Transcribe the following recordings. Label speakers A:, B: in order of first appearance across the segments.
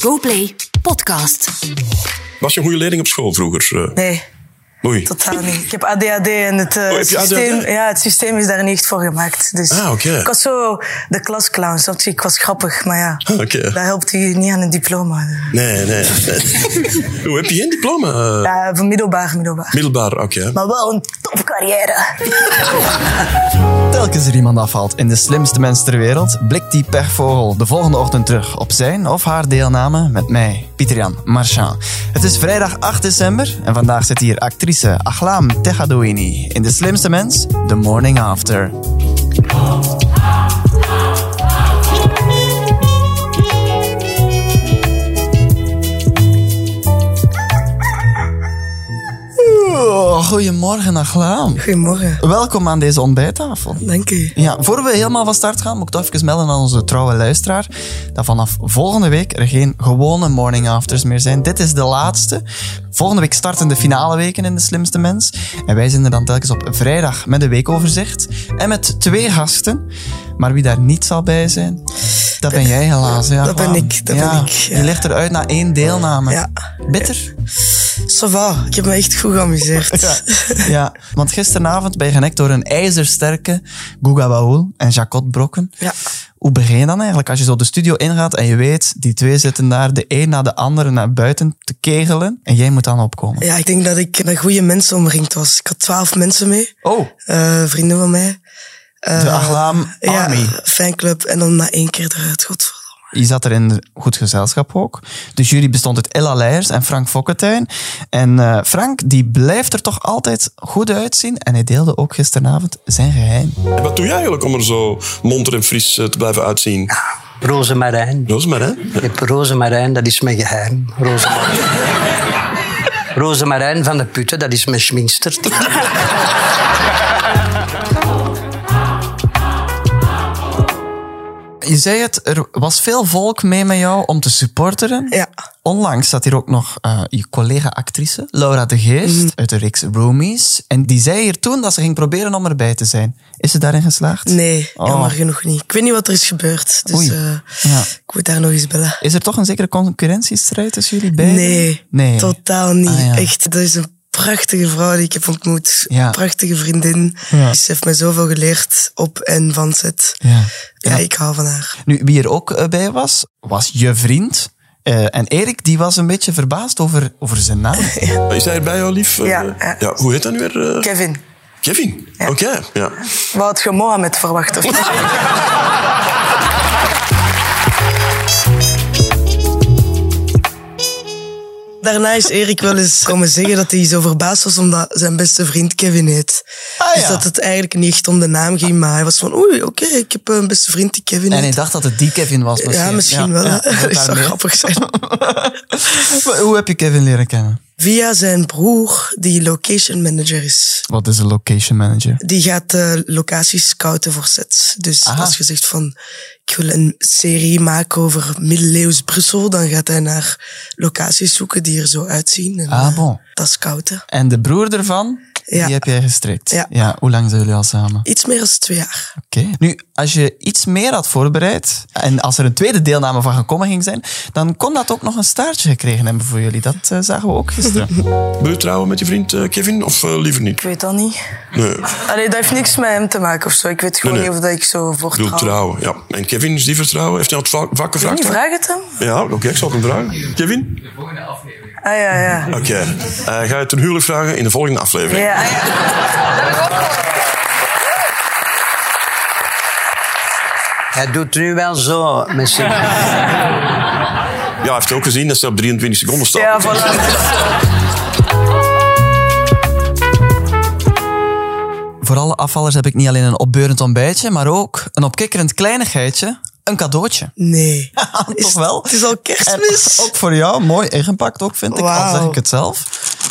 A: GoPlay Podcast.
B: Was je een goede leerling op school vroeger? Eh,
C: Nee,
B: Oei.
C: totaal niet. Ik heb ADHD en het, eh,
B: Oh, heb je
C: systeem,
B: ADHD?
C: ja, het systeem is daar niet echt voor gemaakt. Dus
B: Ah, oké.
C: Ik was zo de klasclown, snap je? Ik was grappig, maar ja,
B: Ah, oké.
C: dat helpt je niet aan een diploma.
B: Nee, nee. Hoe heb je geen diploma? eh,
C: Ja, van middelbaar, middelbaar.
B: middelbaar, oké.
C: Maar wel een top carrière.
D: Telkens er iemand afvalt in de slimste mens ter wereld, blikt die per vogel de volgende ochtend terug op zijn of haar deelname met mij, Pieter-Jan Marchand. Het is vrijdag 8 december en vandaag zit hier actrice Aglaam Tegadouini in de slimste mens, The Morning After. Oeh, Goedemorgen, Aglaam.
C: Goedemorgen.
D: Welkom aan deze ontbijttafel.
C: Dank u.
D: Ja, voor we helemaal van start gaan, moet ik toch even melden aan onze trouwe luisteraar dat vanaf volgende week er geen gewone morning afters meer zijn. Dit is de laatste. Volgende week starten de finale weken in De Slimste Mens. En wij zijn er dan telkens op vrijdag met een weekoverzicht en met twee gasten. Maar wie daar niet zal bij zijn, dat ben jij helaas. Ja,
C: Dat ben
D: Vlaam.
C: ik, dat
D: Ja,
C: ben ik, ja.
D: Je legt eruit na één deelname.
C: Ja.
D: Bitter.
C: Ça va, ik heb me echt goed geamuseerd.
D: Ja. ja, want gisteravond ben je genekt door een ijzersterke Guga Baul en Jacot Brokken.
C: Ja.
D: Hoe begin je dan eigenlijk als je zo de studio ingaat en je weet, die twee zitten daar de een na de andere naar buiten te kegelen en jij moet dan opkomen?
C: Ja, ik denk dat ik met goede mensen omringd was. Ik had twaalf mensen mee,
D: Oh,
C: eh, vrienden van mij. Eh,
D: de Aglaam Army.
C: Ja, fanclub. En dan na één keer eruit, godverdomme.
D: Je zat er in goed gezelschap ook. De jury bestond uit Ella Leijers en Frank Fokkentijn. En eh, Frank, die blijft er toch altijd goed uitzien en hij deelde ook gisteravond zijn geheim.
B: En wat doe jij eigenlijk om er zo monter en fris eh, te blijven uitzien?
E: Rozemarijn.
B: Roosmaar, hè?
E: Ik heb rozemarijn, dat is mijn geheim. Rozemarijn. rozemarijn van de putten, dat is mijn schminkster.
D: Je zei het, er was veel volk mee met jou om te supporteren.
C: Ja.
D: Onlangs zat hier ook nog eh, je collega-actrice, Laura de Geest,
C: Mhm.
D: uit de reeks Roomies. En die zei hier toen dat ze ging proberen om erbij te zijn. Is ze daarin geslaagd?
C: Nee,
D: Oh.
C: jammer genoeg niet. Ik weet niet wat er is gebeurd. Dus
D: Oei.
C: eh,
D: Ja.
C: ik moet daar nog eens bellen.
D: Is er toch een zekere concurrentiestrijd tussen jullie beiden?
C: Nee,
D: Eh? Nee.
C: totaal niet.
D: Ah, ja.
C: Echt, dat is een prachtige vrouw die ik heb ontmoet.
D: Ja.
C: Prachtige vriendin.
D: Ja.
C: Ze heeft me zoveel geleerd op en van zet.
D: Ja.
C: Ja, ik hou van haar.
D: Nu, wie er ook eh, bij was, was je vriend. Eh, en Erik, die was een beetje verbaasd over, over zijn naam.
B: Is hij erbij, jou lief? Eh,
C: Ja, ja.
B: hoe heet dat nu weer? eh?
C: Kevin,
B: Kevin. Oké, ja.
C: wat had je Mohammed verwacht? Of Daarna is Erik wel eens komen zeggen dat hij zo verbaasd was omdat zijn beste vriend Kevin heet.
D: Ah,
C: dus
D: ja.
C: dat het eigenlijk niet echt om de naam ging, maar hij was van oei, oké, ik heb eh, een beste vriend die Kevin
D: En
C: heet.
D: hij dacht dat het die Kevin was misschien.
C: ja, misschien wel.
D: ja,
C: hè.
D: dat
C: dat zou
D: daarmee.
C: grappig zijn.
D: Maar Hoe heb je Kevin leren kennen?
C: Via zijn broer, die location manager is.
D: Wat is een location manager?
C: Die gaat eh, locaties scouten voor sets. Dus
D: Aha.
C: als je zegt van, ik wil een serie maken over middeleeuws Brussel, dan gaat hij naar locaties zoeken die er zo uitzien. En,
D: Ah,
C: eh,
D: bon.
C: Dat scouten.
D: En de broer ervan,
C: Ja.
D: die heb jij gestrikt.
C: Ja.
D: hoe lang zijn jullie al samen?
C: Iets meer dan twee jaar.
D: Oké. Nu, als je iets meer had voorbereid en als er een tweede deelname van gekomen ging zijn, dan kon dat ook nog een staartje gekregen hebben voor jullie. Dat eh, zagen we ook gisteren.
B: Wil je trouwen met je vriend eh, Kevin of eh, liever niet?
C: Ik weet dat niet.
B: Nee, ik
C: Allee, dat heeft niks met hem te maken of zo. Ik weet gewoon
B: Nee, nee.
C: niet of dat ik zo voor
B: bedoel
C: trouw.
B: trouwen, ja. En Kevin, is die vertrouwen? Heeft hij al het va- vaak
C: Ik
B: gevraagd?
C: vraag het hem.
B: Ja, oké, ik zal het hem vragen. Kevin?
C: Ah ja, ja.
B: Oké. Eh, ga je ten huwelijk vragen in de volgende aflevering?
C: ja. ah, ja.
E: Hij doet nu wel zo met zijn...
B: Ja, hij heeft ook gezien dat ze op 23 seconden staat.
C: Ja, voilà.
D: Voor alle afvallers heb ik niet alleen een opbeurend ontbijtje, maar ook een opkikkerend kleinigheidje, een cadeautje.
C: Nee.
D: Toch wel?
C: Het is al kerstmis.
D: En ook voor jou, mooi ingepakt ook, vind ik. Al
C: Wauw.
D: zeg ik het zelf.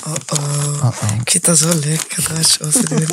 C: Oh, Ik vind dat zo leuk, cadeautje. Wat te doen.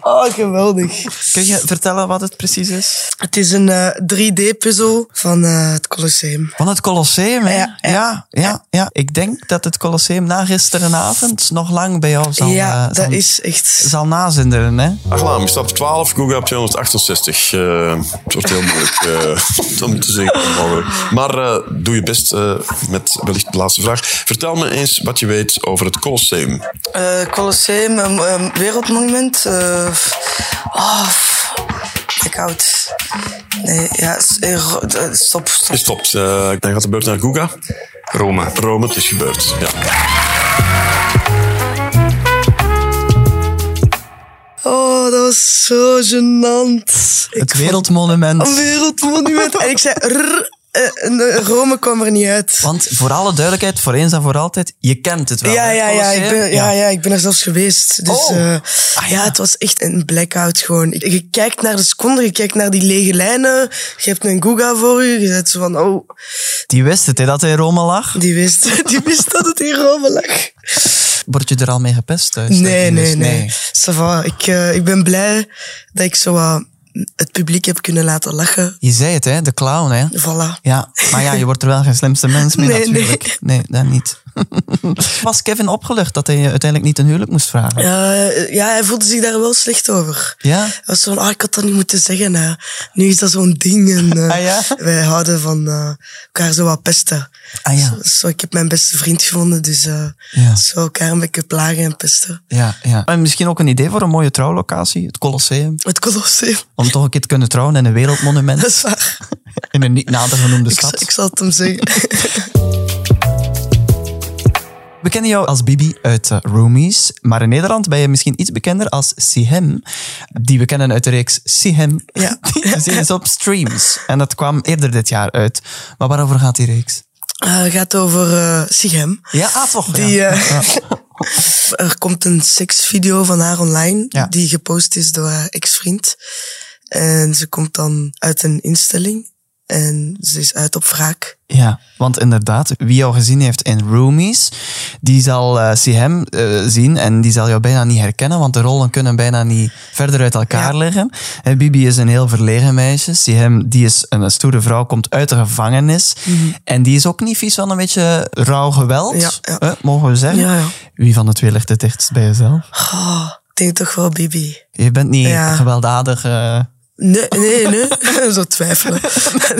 C: Oh, geweldig.
D: Kun je vertellen wat het precies is?
C: Het is een eh, 3D-puzzel van eh, het Colosseum.
D: Van het Colosseum, hè?
C: Ja,
D: Ja,
C: ja.
D: ja, ja. Ik denk dat het Colosseum na gisterenavond nog lang bij jou zal,
C: ja,
D: eh,
C: dat
D: zal,
C: is echt...
D: zal nazinderen, hè?
B: Achlam, stap 12, Google 268. Eh, het wordt heel moeilijk eh, om te zeggen. mogelijk. Maar eh, doe je best eh, met wellicht de laatste vraag. Vertel me eens wat je weet over het Colosseum.
C: eh, Colosseum, een, een wereldmonument. eh, oh, f- ik houd... Nee, ja, s- eh, ro- eh, stop, stop.
B: Je stopt. Eh, dan gaat de beurt naar Guga.
F: Rome.
B: Rome, het is gebeurd. Ja.
C: Oh, dat was zo gênant.
D: Het wereldmonument.
C: Een wereldmonument. En ik zei... rrr, eh, eh, Rome kwam er niet uit.
D: Want voor alle duidelijkheid, voor eens en voor altijd, je kent het wel.
C: Ja,
D: hè,
C: ja, ja, ik
D: Colosseum?
C: ben, ja, ja, ik ben er zelfs geweest. Dus
D: Oh.
C: eh, ja, het was echt een blackout gewoon. Je- Je kijkt naar de seconde, je kijkt naar die lege lijnen. Je hebt een Google voor je. Je zegt zo van, oh,
D: Die wist het, hè, dat hij in Rome lag.
C: die wist, die wist dat het in Rome lag.
D: Word je er al mee gepest thuis? denk
C: Nee,
D: je?
C: nee,
D: Dus
C: nee. Ça va. Ik, eh, ik ben blij dat ik zo wat het publiek heb kunnen laten lachen.
D: Je zei het, hè? De clown, hè?
C: Voilà.
D: Ja, maar ja, je wordt er wel geen slimste mens mee
C: Nee, nee.
D: natuurlijk. Nee, dat niet. Was Kevin opgelucht dat hij eh, uiteindelijk niet een huwelijk moest vragen?
C: Eh, ja, hij voelde zich daar wel slecht over.
D: Ja?
C: Hij was zo van, ah, ik had dat niet moeten zeggen. Hè. Nu is dat zo'n ding. En, eh,
D: Ah, ja?
C: Wij houden van eh, elkaar zo wat pesten.
D: Ah ja,
C: Zo, zo, ik heb mijn beste vriend gevonden, dus eh
D: Ja.
C: zo elkaar een beetje plagen en pesten.
D: ja, ja. En misschien ook een idee voor een mooie trouwlocatie, het Colosseum.
C: Het Colosseum,
D: Om toch een keer te kunnen trouwen in een
C: dat
D: wereldmonument.
C: is waar.
D: In een niet nader genoemde
C: Ik, zal-
D: stad.
C: ik zal het hem zeggen.
D: We kennen jou als Bibi uit eh, Roomies, maar in Nederland ben je misschien iets bekender als Sihem, die we kennen uit de reeks Sihem,
C: Ja.
D: die te zien is op streams. En dat kwam eerder dit jaar uit. Maar waarover gaat die reeks?
C: Het gaat over eh Sigem.
D: Ja, ah, toch.
C: Die,
D: ja.
C: eh, er komt een seksvideo van haar online,
D: Ja.
C: die gepost is door haar ex-vriend. En ze komt dan uit een instelling en ze is uit op wraak.
D: Ja, want inderdaad, wie jou gezien heeft in Roomies, die zal eh Sihem eh, zien en die zal jou bijna niet herkennen, want de rollen kunnen bijna niet verder uit elkaar liggen. En Bibi is een heel verlegen meisje. Sihem, die is een stoere vrouw, komt uit de gevangenis. En die is ook niet vies van een beetje rauw geweld,
C: Mhm. Ja, ja.
D: eh, mogen we zeggen.
C: Ja, ja.
D: Wie van de twee ligt het dichtst bij jezelf?
C: Oh, ik denk toch wel Bibi.
D: Je bent niet
C: Ja.
D: gewelddadig, eh,
C: Nee, nee, nee. zo twijfelen.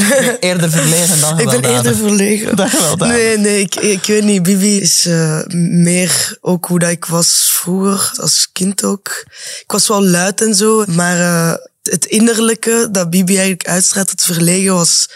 D: eerder verlegen dan
C: Ik ben
D: gewelddadig.
C: eerder verlegen.
D: Dan gewelddadig.
C: Nee, nee, ik, ik weet niet. Bibi is eh, meer ook hoe dat ik was vroeger, als kind ook. Ik was wel luid en zo, maar eh, het innerlijke dat Bibi eigenlijk uitstraalt, het verlegen was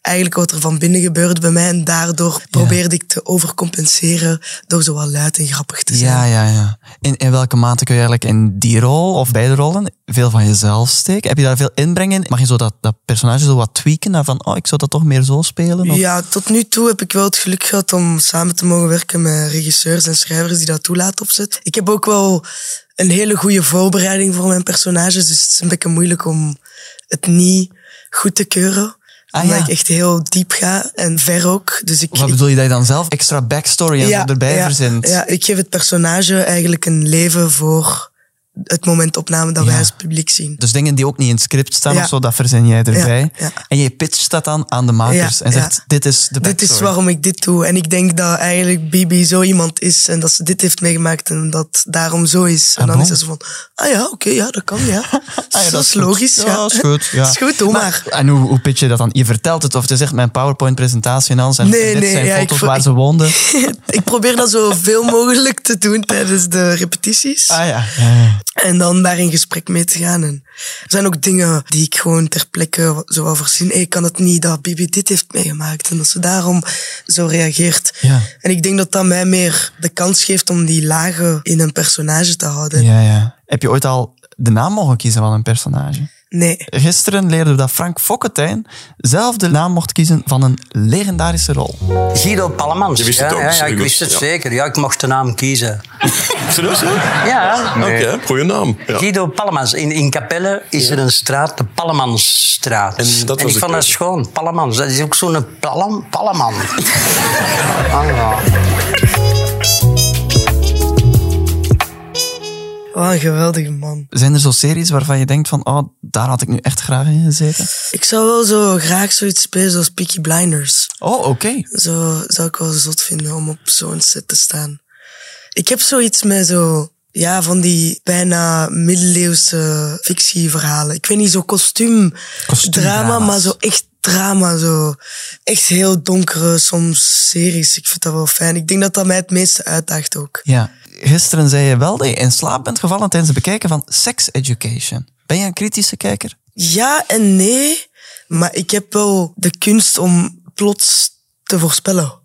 C: eigenlijk wat er van binnen gebeurde bij mij. En daardoor probeerde ik te overcompenseren door zo wat luid en grappig te zijn.
D: Ja, ja, ja. In, in welke mate kun je eigenlijk in die rol of beide rollen veel van jezelf steken? Heb je daar veel inbreng in? Mag je zo dat, dat personage zo wat tweaken? Naar van, oh, ik zou dat toch meer zo spelen? Of-
C: Ja, tot nu toe heb ik wel het geluk gehad om samen te mogen werken met regisseurs en schrijvers die dat toelaten opzet. Ik heb ook wel een hele goede voorbereiding voor mijn personages, dus het is een beetje moeilijk om het niet goed te keuren.
D: Ah,
C: omdat
D: ja.
C: ik echt heel diep ga en ver ook. Dus ik,
D: Wat
C: ik-
D: bedoel je dat je dan zelf extra backstory en zo erbij
C: ja,
D: verzint?
C: Ja, ik geef het personage eigenlijk een leven voor het moment opname dat wij
D: Ja.
C: als publiek zien.
D: Dus dingen die ook niet in het script staan
C: Ja.
D: of zo, dat verzin jij erbij.
C: Ja, ja.
D: En je pitcht dat dan aan de makers
C: Ja,
D: en zegt,
C: ja.
D: dit is de
C: Dit
D: backstory.
C: is waarom ik dit doe. En ik denk dat eigenlijk Bibi zo iemand is en dat ze dit heeft meegemaakt en dat daarom zo is. En
D: Ah,
C: dan
D: bon?
C: is ze zo van, ah ja, oké, ja, dat kan, ja.
D: Ah ja,
C: dat is
D: goed.
C: logisch, ja.
D: dat is goed. Ja.
C: Dat is goed, doe maar.
D: En hoe, hoe pitch je dat dan? Je vertelt het of je zegt mijn PowerPoint-presentatie en alles. En
C: Nee,
D: dit
C: nee,
D: zijn
C: ja, ik
D: foto's
C: vo-
D: waar ze woonden. Ah
C: ik probeer dat zoveel mogelijk te doen tijdens de repetities.
D: Ah ja. ja, ja.
C: En dan daar in gesprek mee te gaan. En er zijn ook dingen die ik gewoon ter plekke wa- zo wel voorzien. Hey, kan het niet dat Bibi dit heeft meegemaakt en dat ze daarom zo reageert.
D: Ja.
C: En ik denk dat dat mij meer de kans geeft om die lagen in een personage te houden.
D: Ja, ja. Eh, Heb je ooit al de naam mogen kiezen van een personage?
C: Nee.
D: Gisteren leerden we dat Frank Fokkentijn zelf de naam mocht kiezen van een legendarische rol.
E: Guido Pallemans.
B: Je wist
E: ja,
B: het ook,
E: ja, ja,
B: zeker
E: ik
B: goed,
E: wist het
B: ja.
E: zeker. Ja, ik mocht de naam kiezen.
B: Serieus, hè?
E: Ja, Eh,
B: Oké, goede naam. Ja.
E: Guido Pallemans. In, in Capelle is er een straat, de Pallemansstraat.
B: En dat was de
E: ik vond dat
B: keuze.
E: schoon, Pallemans. Dat is ook zo'n pallam, Palleman. Ah, ja.
C: Wat een geweldige man.
D: Zijn er zo series waarvan je denkt van, oh, daar had ik nu echt graag in gezeten?
C: Ik zou wel zo graag zoiets spelen zoals Peaky Blinders.
D: Oh, oké.
C: Zo zou ik wel zot vinden om op zo'n set te staan. Ik heb zoiets met zo, ja, van die bijna middeleeuwse fictieverhalen. Ik weet niet, zo kostuum, drama,
D: Kostuumdrama's.
C: maar zo echt drama, zo. Echt heel donkere soms series. Ik vind dat wel fijn. Ik denk dat dat mij het meeste uitdaagt ook.
D: Ja. Gisteren zei je wel dat je in slaap bent gevallen tijdens het bekijken van Sex Education. Ben je een kritische kijker?
C: Ja en nee, maar ik heb wel de kunst om plots te voorspellen.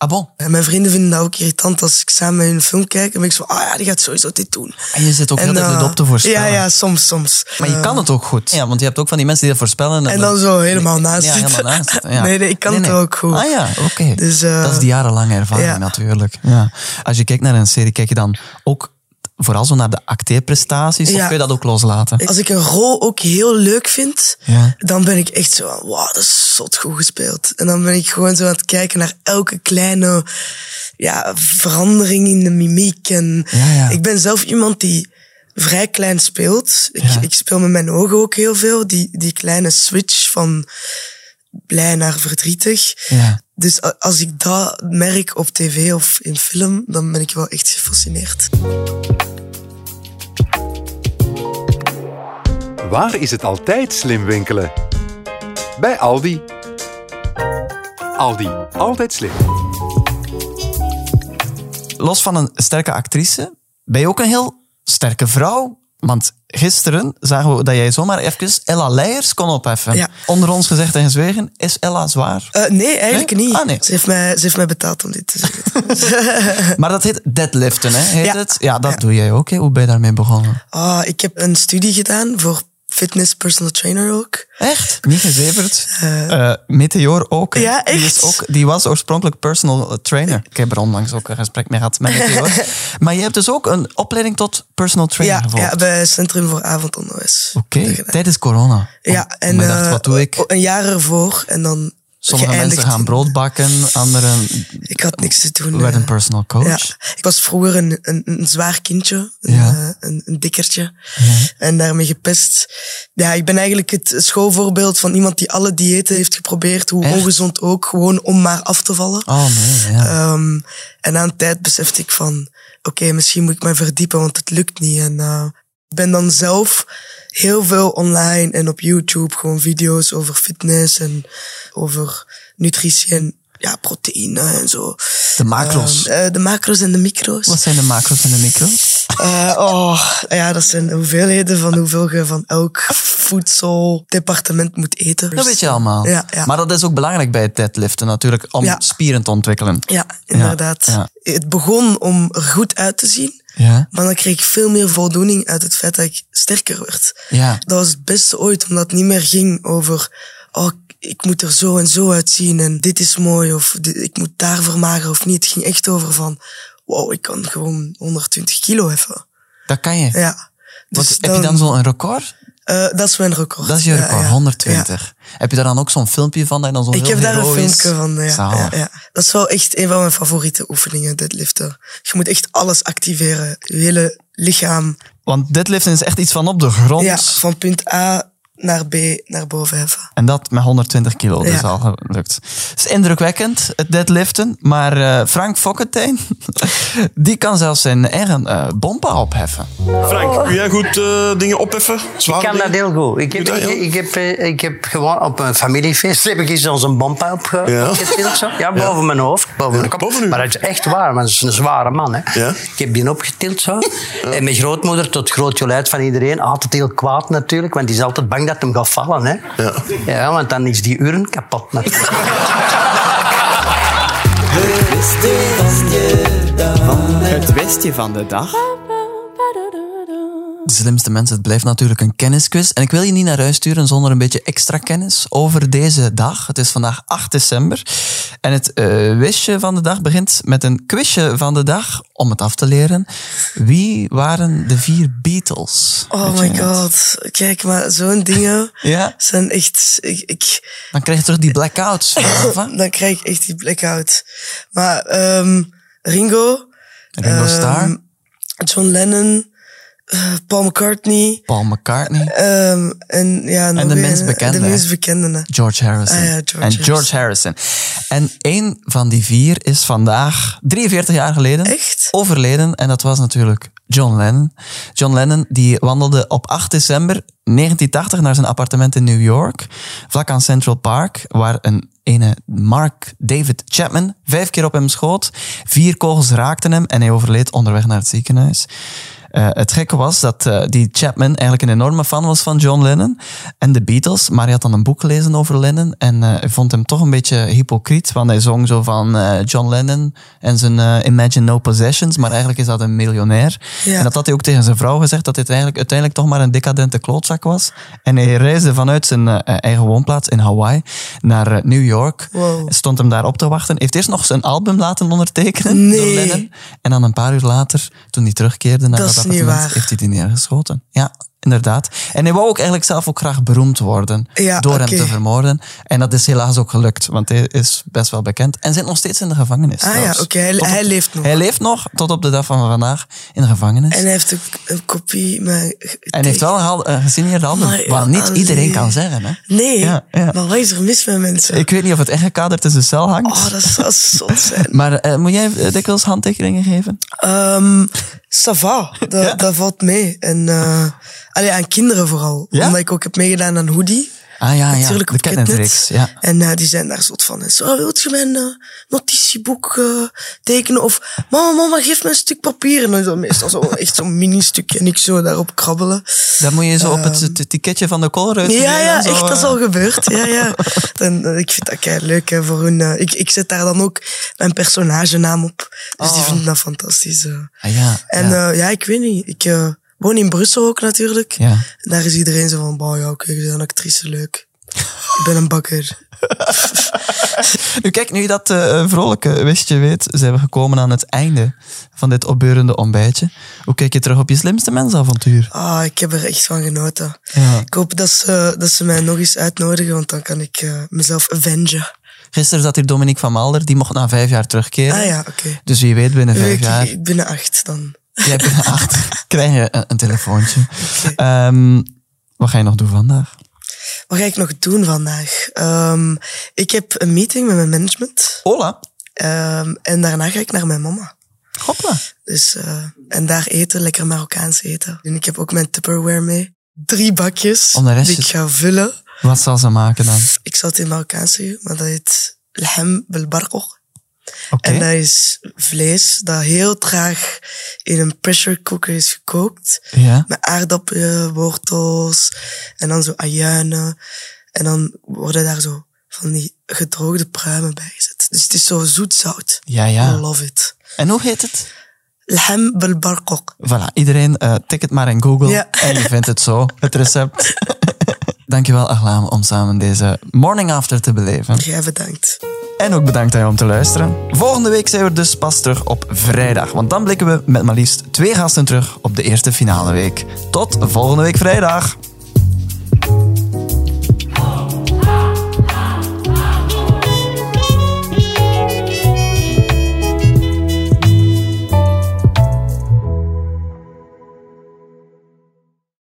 D: Ah bon.
C: En mijn vrienden vinden dat ook irritant als ik samen met hun een film kijk. En ben ik zo, ah ja, die gaat sowieso dit doen.
D: En je zit ook heel de tijd
C: eh,
D: op te voorspellen.
C: Ja, ja, soms, soms.
D: Maar je
C: Eh,
D: kan het ook goed. Ja, want je hebt ook van die mensen die dat voorspellen.
C: En dan zo helemaal
D: Nee,
C: naast
D: ja,
C: zitten.
D: helemaal naast zitten, ja.
C: Nee, nee, ik kan het ook goed.
D: Ah ja, oké.
C: Dus, eh,
D: dat is die jarenlange ervaring
C: ja.
D: natuurlijk. Ja. Als je kijkt naar een serie, kijk je dan ook vooral zo naar de acteerprestaties? Of
C: Ja.
D: kun je dat ook loslaten?
C: Als ik een rol ook heel leuk vind,
D: Ja.
C: dan ben ik echt zo van, wauw, dat is zot goed gespeeld. En dan ben ik gewoon zo aan het kijken naar elke kleine ja, verandering in de mimiek. En
D: Ja, ja.
C: Ik ben zelf iemand die vrij klein speelt. Ik,
D: Ja.
C: ik speel met mijn ogen ook heel veel. Die, die kleine switch van blij naar verdrietig.
D: Ja.
C: Dus a- als ik dat merk op tv of in film, dan ben ik wel echt gefascineerd.
F: Waar is het altijd slim winkelen? Bij Aldi. Aldi, altijd slim.
D: Los van een sterke actrice, ben je ook een heel sterke vrouw? Want gisteren zagen we dat jij zomaar even Ella Leijers kon opheffen.
C: Ja.
D: Onder ons gezegd en gezwegen, is Ella zwaar?
C: Eh, nee, eigenlijk
D: Nee?
C: niet.
D: Ah, nee.
C: Ze, heeft mij, ze heeft mij betaald om dit te zeggen.
D: Maar dat heet deadliften, hè? Heet
C: Eh. Ja.
D: Het? ja dat doe jij ook. Hè? Hoe ben je daarmee begonnen?
C: Ah, ik heb een studie gedaan voor fitness personal trainer ook.
D: Echt? Niet gezeverd. Eh, Meteor ook. hè.
C: Ja,
D: Die,
C: echt?
D: is ook, die was oorspronkelijk personal trainer. Ik heb er onlangs ook een gesprek mee gehad met Meteor. maar je hebt dus ook een opleiding tot personal trainer
C: Ja,
D: Ah, gevolgd.
C: ja, bij Centrum voor Avondonderwijs.
D: Oké,
C: Gedaan.
D: tijdens corona.
C: Ja,
D: Om-
C: en
D: maar dacht,
C: eh,
D: wat doe ik?
C: Een jaar ervoor en dan
D: Sommige
C: geëindigd
D: mensen gaan
C: in-
D: brood bakken, anderen
C: Ik had niks te doen.
D: werden
C: eh.
D: personal coach.
C: Ja, ik was vroeger een, een, een zwaar kindje, een,
D: Ja.
C: eh, een, een dikkertje, en daarmee gepest. Ja, ik ben eigenlijk het schoolvoorbeeld van iemand die alle diëten heeft geprobeerd, hoe
D: Echt?
C: ongezond ook, gewoon om maar af te vallen.
D: Oh nee, ja.
C: Ehm, en aan een tijd besefte ik van, oké, misschien moet ik mij verdiepen, want het lukt niet. En eh, ik ben dan zelf heel veel online en op YouTube gewoon video's over fitness en over nutritie en ja, proteïne en zo.
D: de macro's.
C: Ehm, eh, de macro's en de micro's.
D: wat zijn de macro's en de micro's?
C: Eh, oh, ja, dat zijn de hoeveelheden van hoeveel je van elk voedseldepartement moet eten.
D: Dat weet je allemaal.
C: Ja, ja.
D: Maar dat is ook belangrijk bij het deadliften natuurlijk, om
C: Ja.
D: spieren te ontwikkelen.
C: Ja, inderdaad.
D: Ja,
C: Het begon om er goed uit te zien.
D: Ja.
C: Maar dan kreeg ik veel meer voldoening uit het feit dat ik sterker werd.
D: Ja.
C: Dat was het beste ooit, omdat het niet meer ging over... Oh, ik moet er zo en zo uitzien en dit is mooi of dit- ik moet daar vermageren of niet. Het ging echt over van... Wow, ik kan gewoon 120 kilo heffen.
D: Dat kan je.
C: Ja. dus
D: Wat, heb je dan zo'n record?
C: eh, dat is mijn record.
D: Dat is je
C: Ja,
D: record,
C: ja.
D: 120. Heb je daar dan ook zo'n filmpje van? Dat je dan zo
C: Ik
D: heel
C: heb daar een
D: heroïs-
C: filmpje van. Ja, ja,
D: Zalig.
C: ja. Dat is wel echt een van mijn favoriete oefeningen, deadliften. Je moet echt alles activeren. Je hele lichaam.
D: Want deadliften is echt iets van op de grond.
C: Ja, van punt A naar B naar boven heffen.
D: En dat met 120 kilo, dus
C: Ja.
D: al gelukt. Het is indrukwekkend, het deadliften. Maar eh, Frank Fokkentijn, die kan zelfs zijn eigen eh bompa opheffen.
B: Frank, kun jij goed eh, dingen opheffen? Zware
E: Ik kan dat
B: dingen?
E: heel goed. Ik heb,
B: Doe
E: ik,
B: dat, ja.
E: ik heb, eh, ik heb gewoon op een familiefeest heb ik eens als een bompa
B: Ja.
E: opgetild of zo. Ja, boven mijn hoofd. Boven mijn kop.
B: boven u.
E: maar dat is echt waar, want dat is een zware man. Hè.
B: Ja.
E: Ik heb die opgetild zo. En mijn grootmoeder, tot groot geluid van iedereen, altijd heel kwaad natuurlijk, want die is altijd bang dat hem gaat vallen. Hè.
B: Ja.
E: ja, want dan is die urn kapot natuurlijk.
D: Het westje van de dag. De slimste mensen, het blijft natuurlijk een kennisquiz. En ik wil je niet naar huis sturen zonder een beetje extra kennis over deze dag. Het is vandaag 8 december. En het eh wistje van de dag begint met een quizje van de dag. Om het af te leren. Wie waren de vier Beatles? Weet
C: Oh
D: je
C: my
D: het?
C: god. Kijk, maar zo'n dingen
D: Ja.
C: zijn echt... Ik, ik,
D: Dan krijg je terug die blackouts. vanaf, hè?
C: dan krijg ik echt die blackout. Maar ehm Ringo, Ehm,
D: Ringo Starr.
C: John Lennon, eh, Paul McCartney.
D: Paul McCartney,
C: ehm, en ja, nog
D: de
C: een-
D: minst bekende,
C: De
D: hè?
C: minst bekende. hè.
D: George Harrison.
C: Ah ja, George
D: en George Harrison. En één van die vier is vandaag, 43 jaar geleden,
C: Echt?
D: overleden. En dat was natuurlijk John Lennon. John Lennon die wandelde op 8 december 1980 naar zijn appartement in New York, vlak aan Central Park, waar een ene Mark David Chapman vijf keer op hem schoot. Vier kogels raakten hem en hij overleed onderweg naar het ziekenhuis. Eh, het gekke was dat eh, die Chapman eigenlijk een enorme fan was van John Lennon en de Beatles. Maar hij had dan een boek gelezen over Lennon en eh, hij vond hem toch een beetje hypocriet. Want hij zong zo van eh, John Lennon en zijn eh, Imagine No Possessions. Maar eigenlijk is dat een miljonair.
C: Ja.
D: En dat had hij ook tegen zijn vrouw gezegd. Dat dit eigenlijk uiteindelijk toch maar een decadente klootzak was. En hij reisde vanuit zijn eh, eigen woonplaats in Hawaii naar eh, New York.
C: Wow.
D: Stond hem daar op te wachten. Heeft eerst nog zijn album laten ondertekenen door
C: Nee.
D: Lennon. En dan een paar uur later, toen hij terugkeerde
C: Dat
D: naar dat
C: is niet
D: appartement,
C: waar.
D: heeft hij die neergeschoten. Ja, inderdaad. En hij wou ook eigenlijk zelf ook graag beroemd worden
C: Ja,
D: door
C: oké.
D: hem te vermoorden. En dat is helaas ook gelukt, want hij is best wel bekend. En zit nog steeds in de gevangenis.
C: Ah
D: trouwens.
C: ja, oké, hij-
D: Tot op-
C: hij leeft nog.
D: Hij leeft nog tot op de dag van vandaag in de gevangenis.
C: En
D: En,
C: hij heeft ook een kopie. Maar en
D: hij heeft wel een hal- een gesigneerd album,
C: Maar,
D: wat niet
C: allee.
D: iedereen kan zeggen. Hè?
C: Nee,
D: Ja, ja.
C: maar wat is er mis met mensen?
D: Ik weet niet of het echt gekaderd in zijn cel hangt.
C: Oh, dat zou zot zijn.
D: Maar eh, moet jij eh, dikwijls handtekeningen geven?
C: Ehm ça va, dat, dat valt mee. En, eh allee, aan kinderen vooral.
D: Ja?
C: Omdat ik ook heb meegedaan aan Hoodie.
D: Ah ja, ja.
C: Natuurlijk
D: de
C: op
D: kettingreeks.
C: Ketnet.
D: Ja.
C: En eh, die zijn daar soort van. Zo, oh, wilt je mijn eh, notitieboek eh, tekenen? Of mama, mama, geef me een stuk papier. En dan zo, meestal zo, echt zo'n mini-stukje en ik zo daarop krabbelen.
D: Dan moet je zo op het, het ticketje van de Colruyt.
C: Ehm. Ja,
D: moet je
C: ja,
D: dan zo,
C: echt, dat is
D: eh,
C: al gebeurd. Ja, ja. Dan, eh, ik vind dat kei leuk hè, voor hun. eh, ik, ik zet daar dan ook mijn personagenaam op. Dus die
D: Oh.
C: vinden dat fantastisch. eh.
D: Ah, ja,
C: En
D: ja.
C: ja. ja, ik weet niet. Ik eh, woon in Brussel ook natuurlijk.
D: Ja.
C: Daar is iedereen zo van, bah, ja, oké, je bent een actrice, leuk. Ik ben een bakker.
D: Nu kijk, nu je dat eh, vrolijke wistje weet, zijn we gekomen aan het einde van dit opbeurende ontbijtje. Hoe kijk je terug op je slimste mensavontuur?
C: Ah, ik heb er echt van genoten.
D: Ja.
C: Ik hoop dat ze, eh, dat ze mij nog eens uitnodigen, want dan kan ik eh, mezelf avengen.
D: Gisteren zat hier Dominique van Malder, die mocht na vijf jaar terugkeren.
C: Ah ja, oké.
D: Dus wie weet binnen
C: Leuk,
D: vijf
C: ik-
D: jaar,
C: ik- Binnen acht dan.
D: jij binnen acht, krijg je een, een telefoontje. Ehm, wat ga je nog doen vandaag?
C: Wat ga ik nog doen vandaag? Ehm, ik heb een meeting met mijn management.
D: Hola.
C: Ehm, en daarna ga ik naar mijn mama.
D: Hopla.
C: Dus, eh, en daar eten, lekker Marokkaans eten. En ik heb ook mijn Tupperware mee. Drie bakjes
D: Om de rest
C: die ik
D: is-
C: ga vullen. Dus
D: Wat zal ze maken dan?
C: Ik zal het in Marokkaans zeggen, maar dat heet lahm belbarkoch.
D: Oké.
C: En dat is vlees dat heel traag in een pressure cooker is gekookt.
D: Ja.
C: Met aardappelen, wortels en dan zo ajuinen. En dan worden daar zo van die gedroogde pruimen bij gezet. Dus het is zo zoet-zout.
D: Ja, ja.
C: I love it.
D: En hoe heet het?
C: Lahm belbarkoch.
D: Voilà, iedereen eh tik het maar in Google
C: Ja.
D: en je vindt het zo, het recept. Dankjewel Aglaam om samen deze morning after te beleven.
C: Jij bedankt.
D: En ook bedankt aan jou om te luisteren. Volgende week zijn we dus pas terug op vrijdag, want dan blikken we met maar liefst twee gasten terug op de eerste finale week. Tot volgende week vrijdag.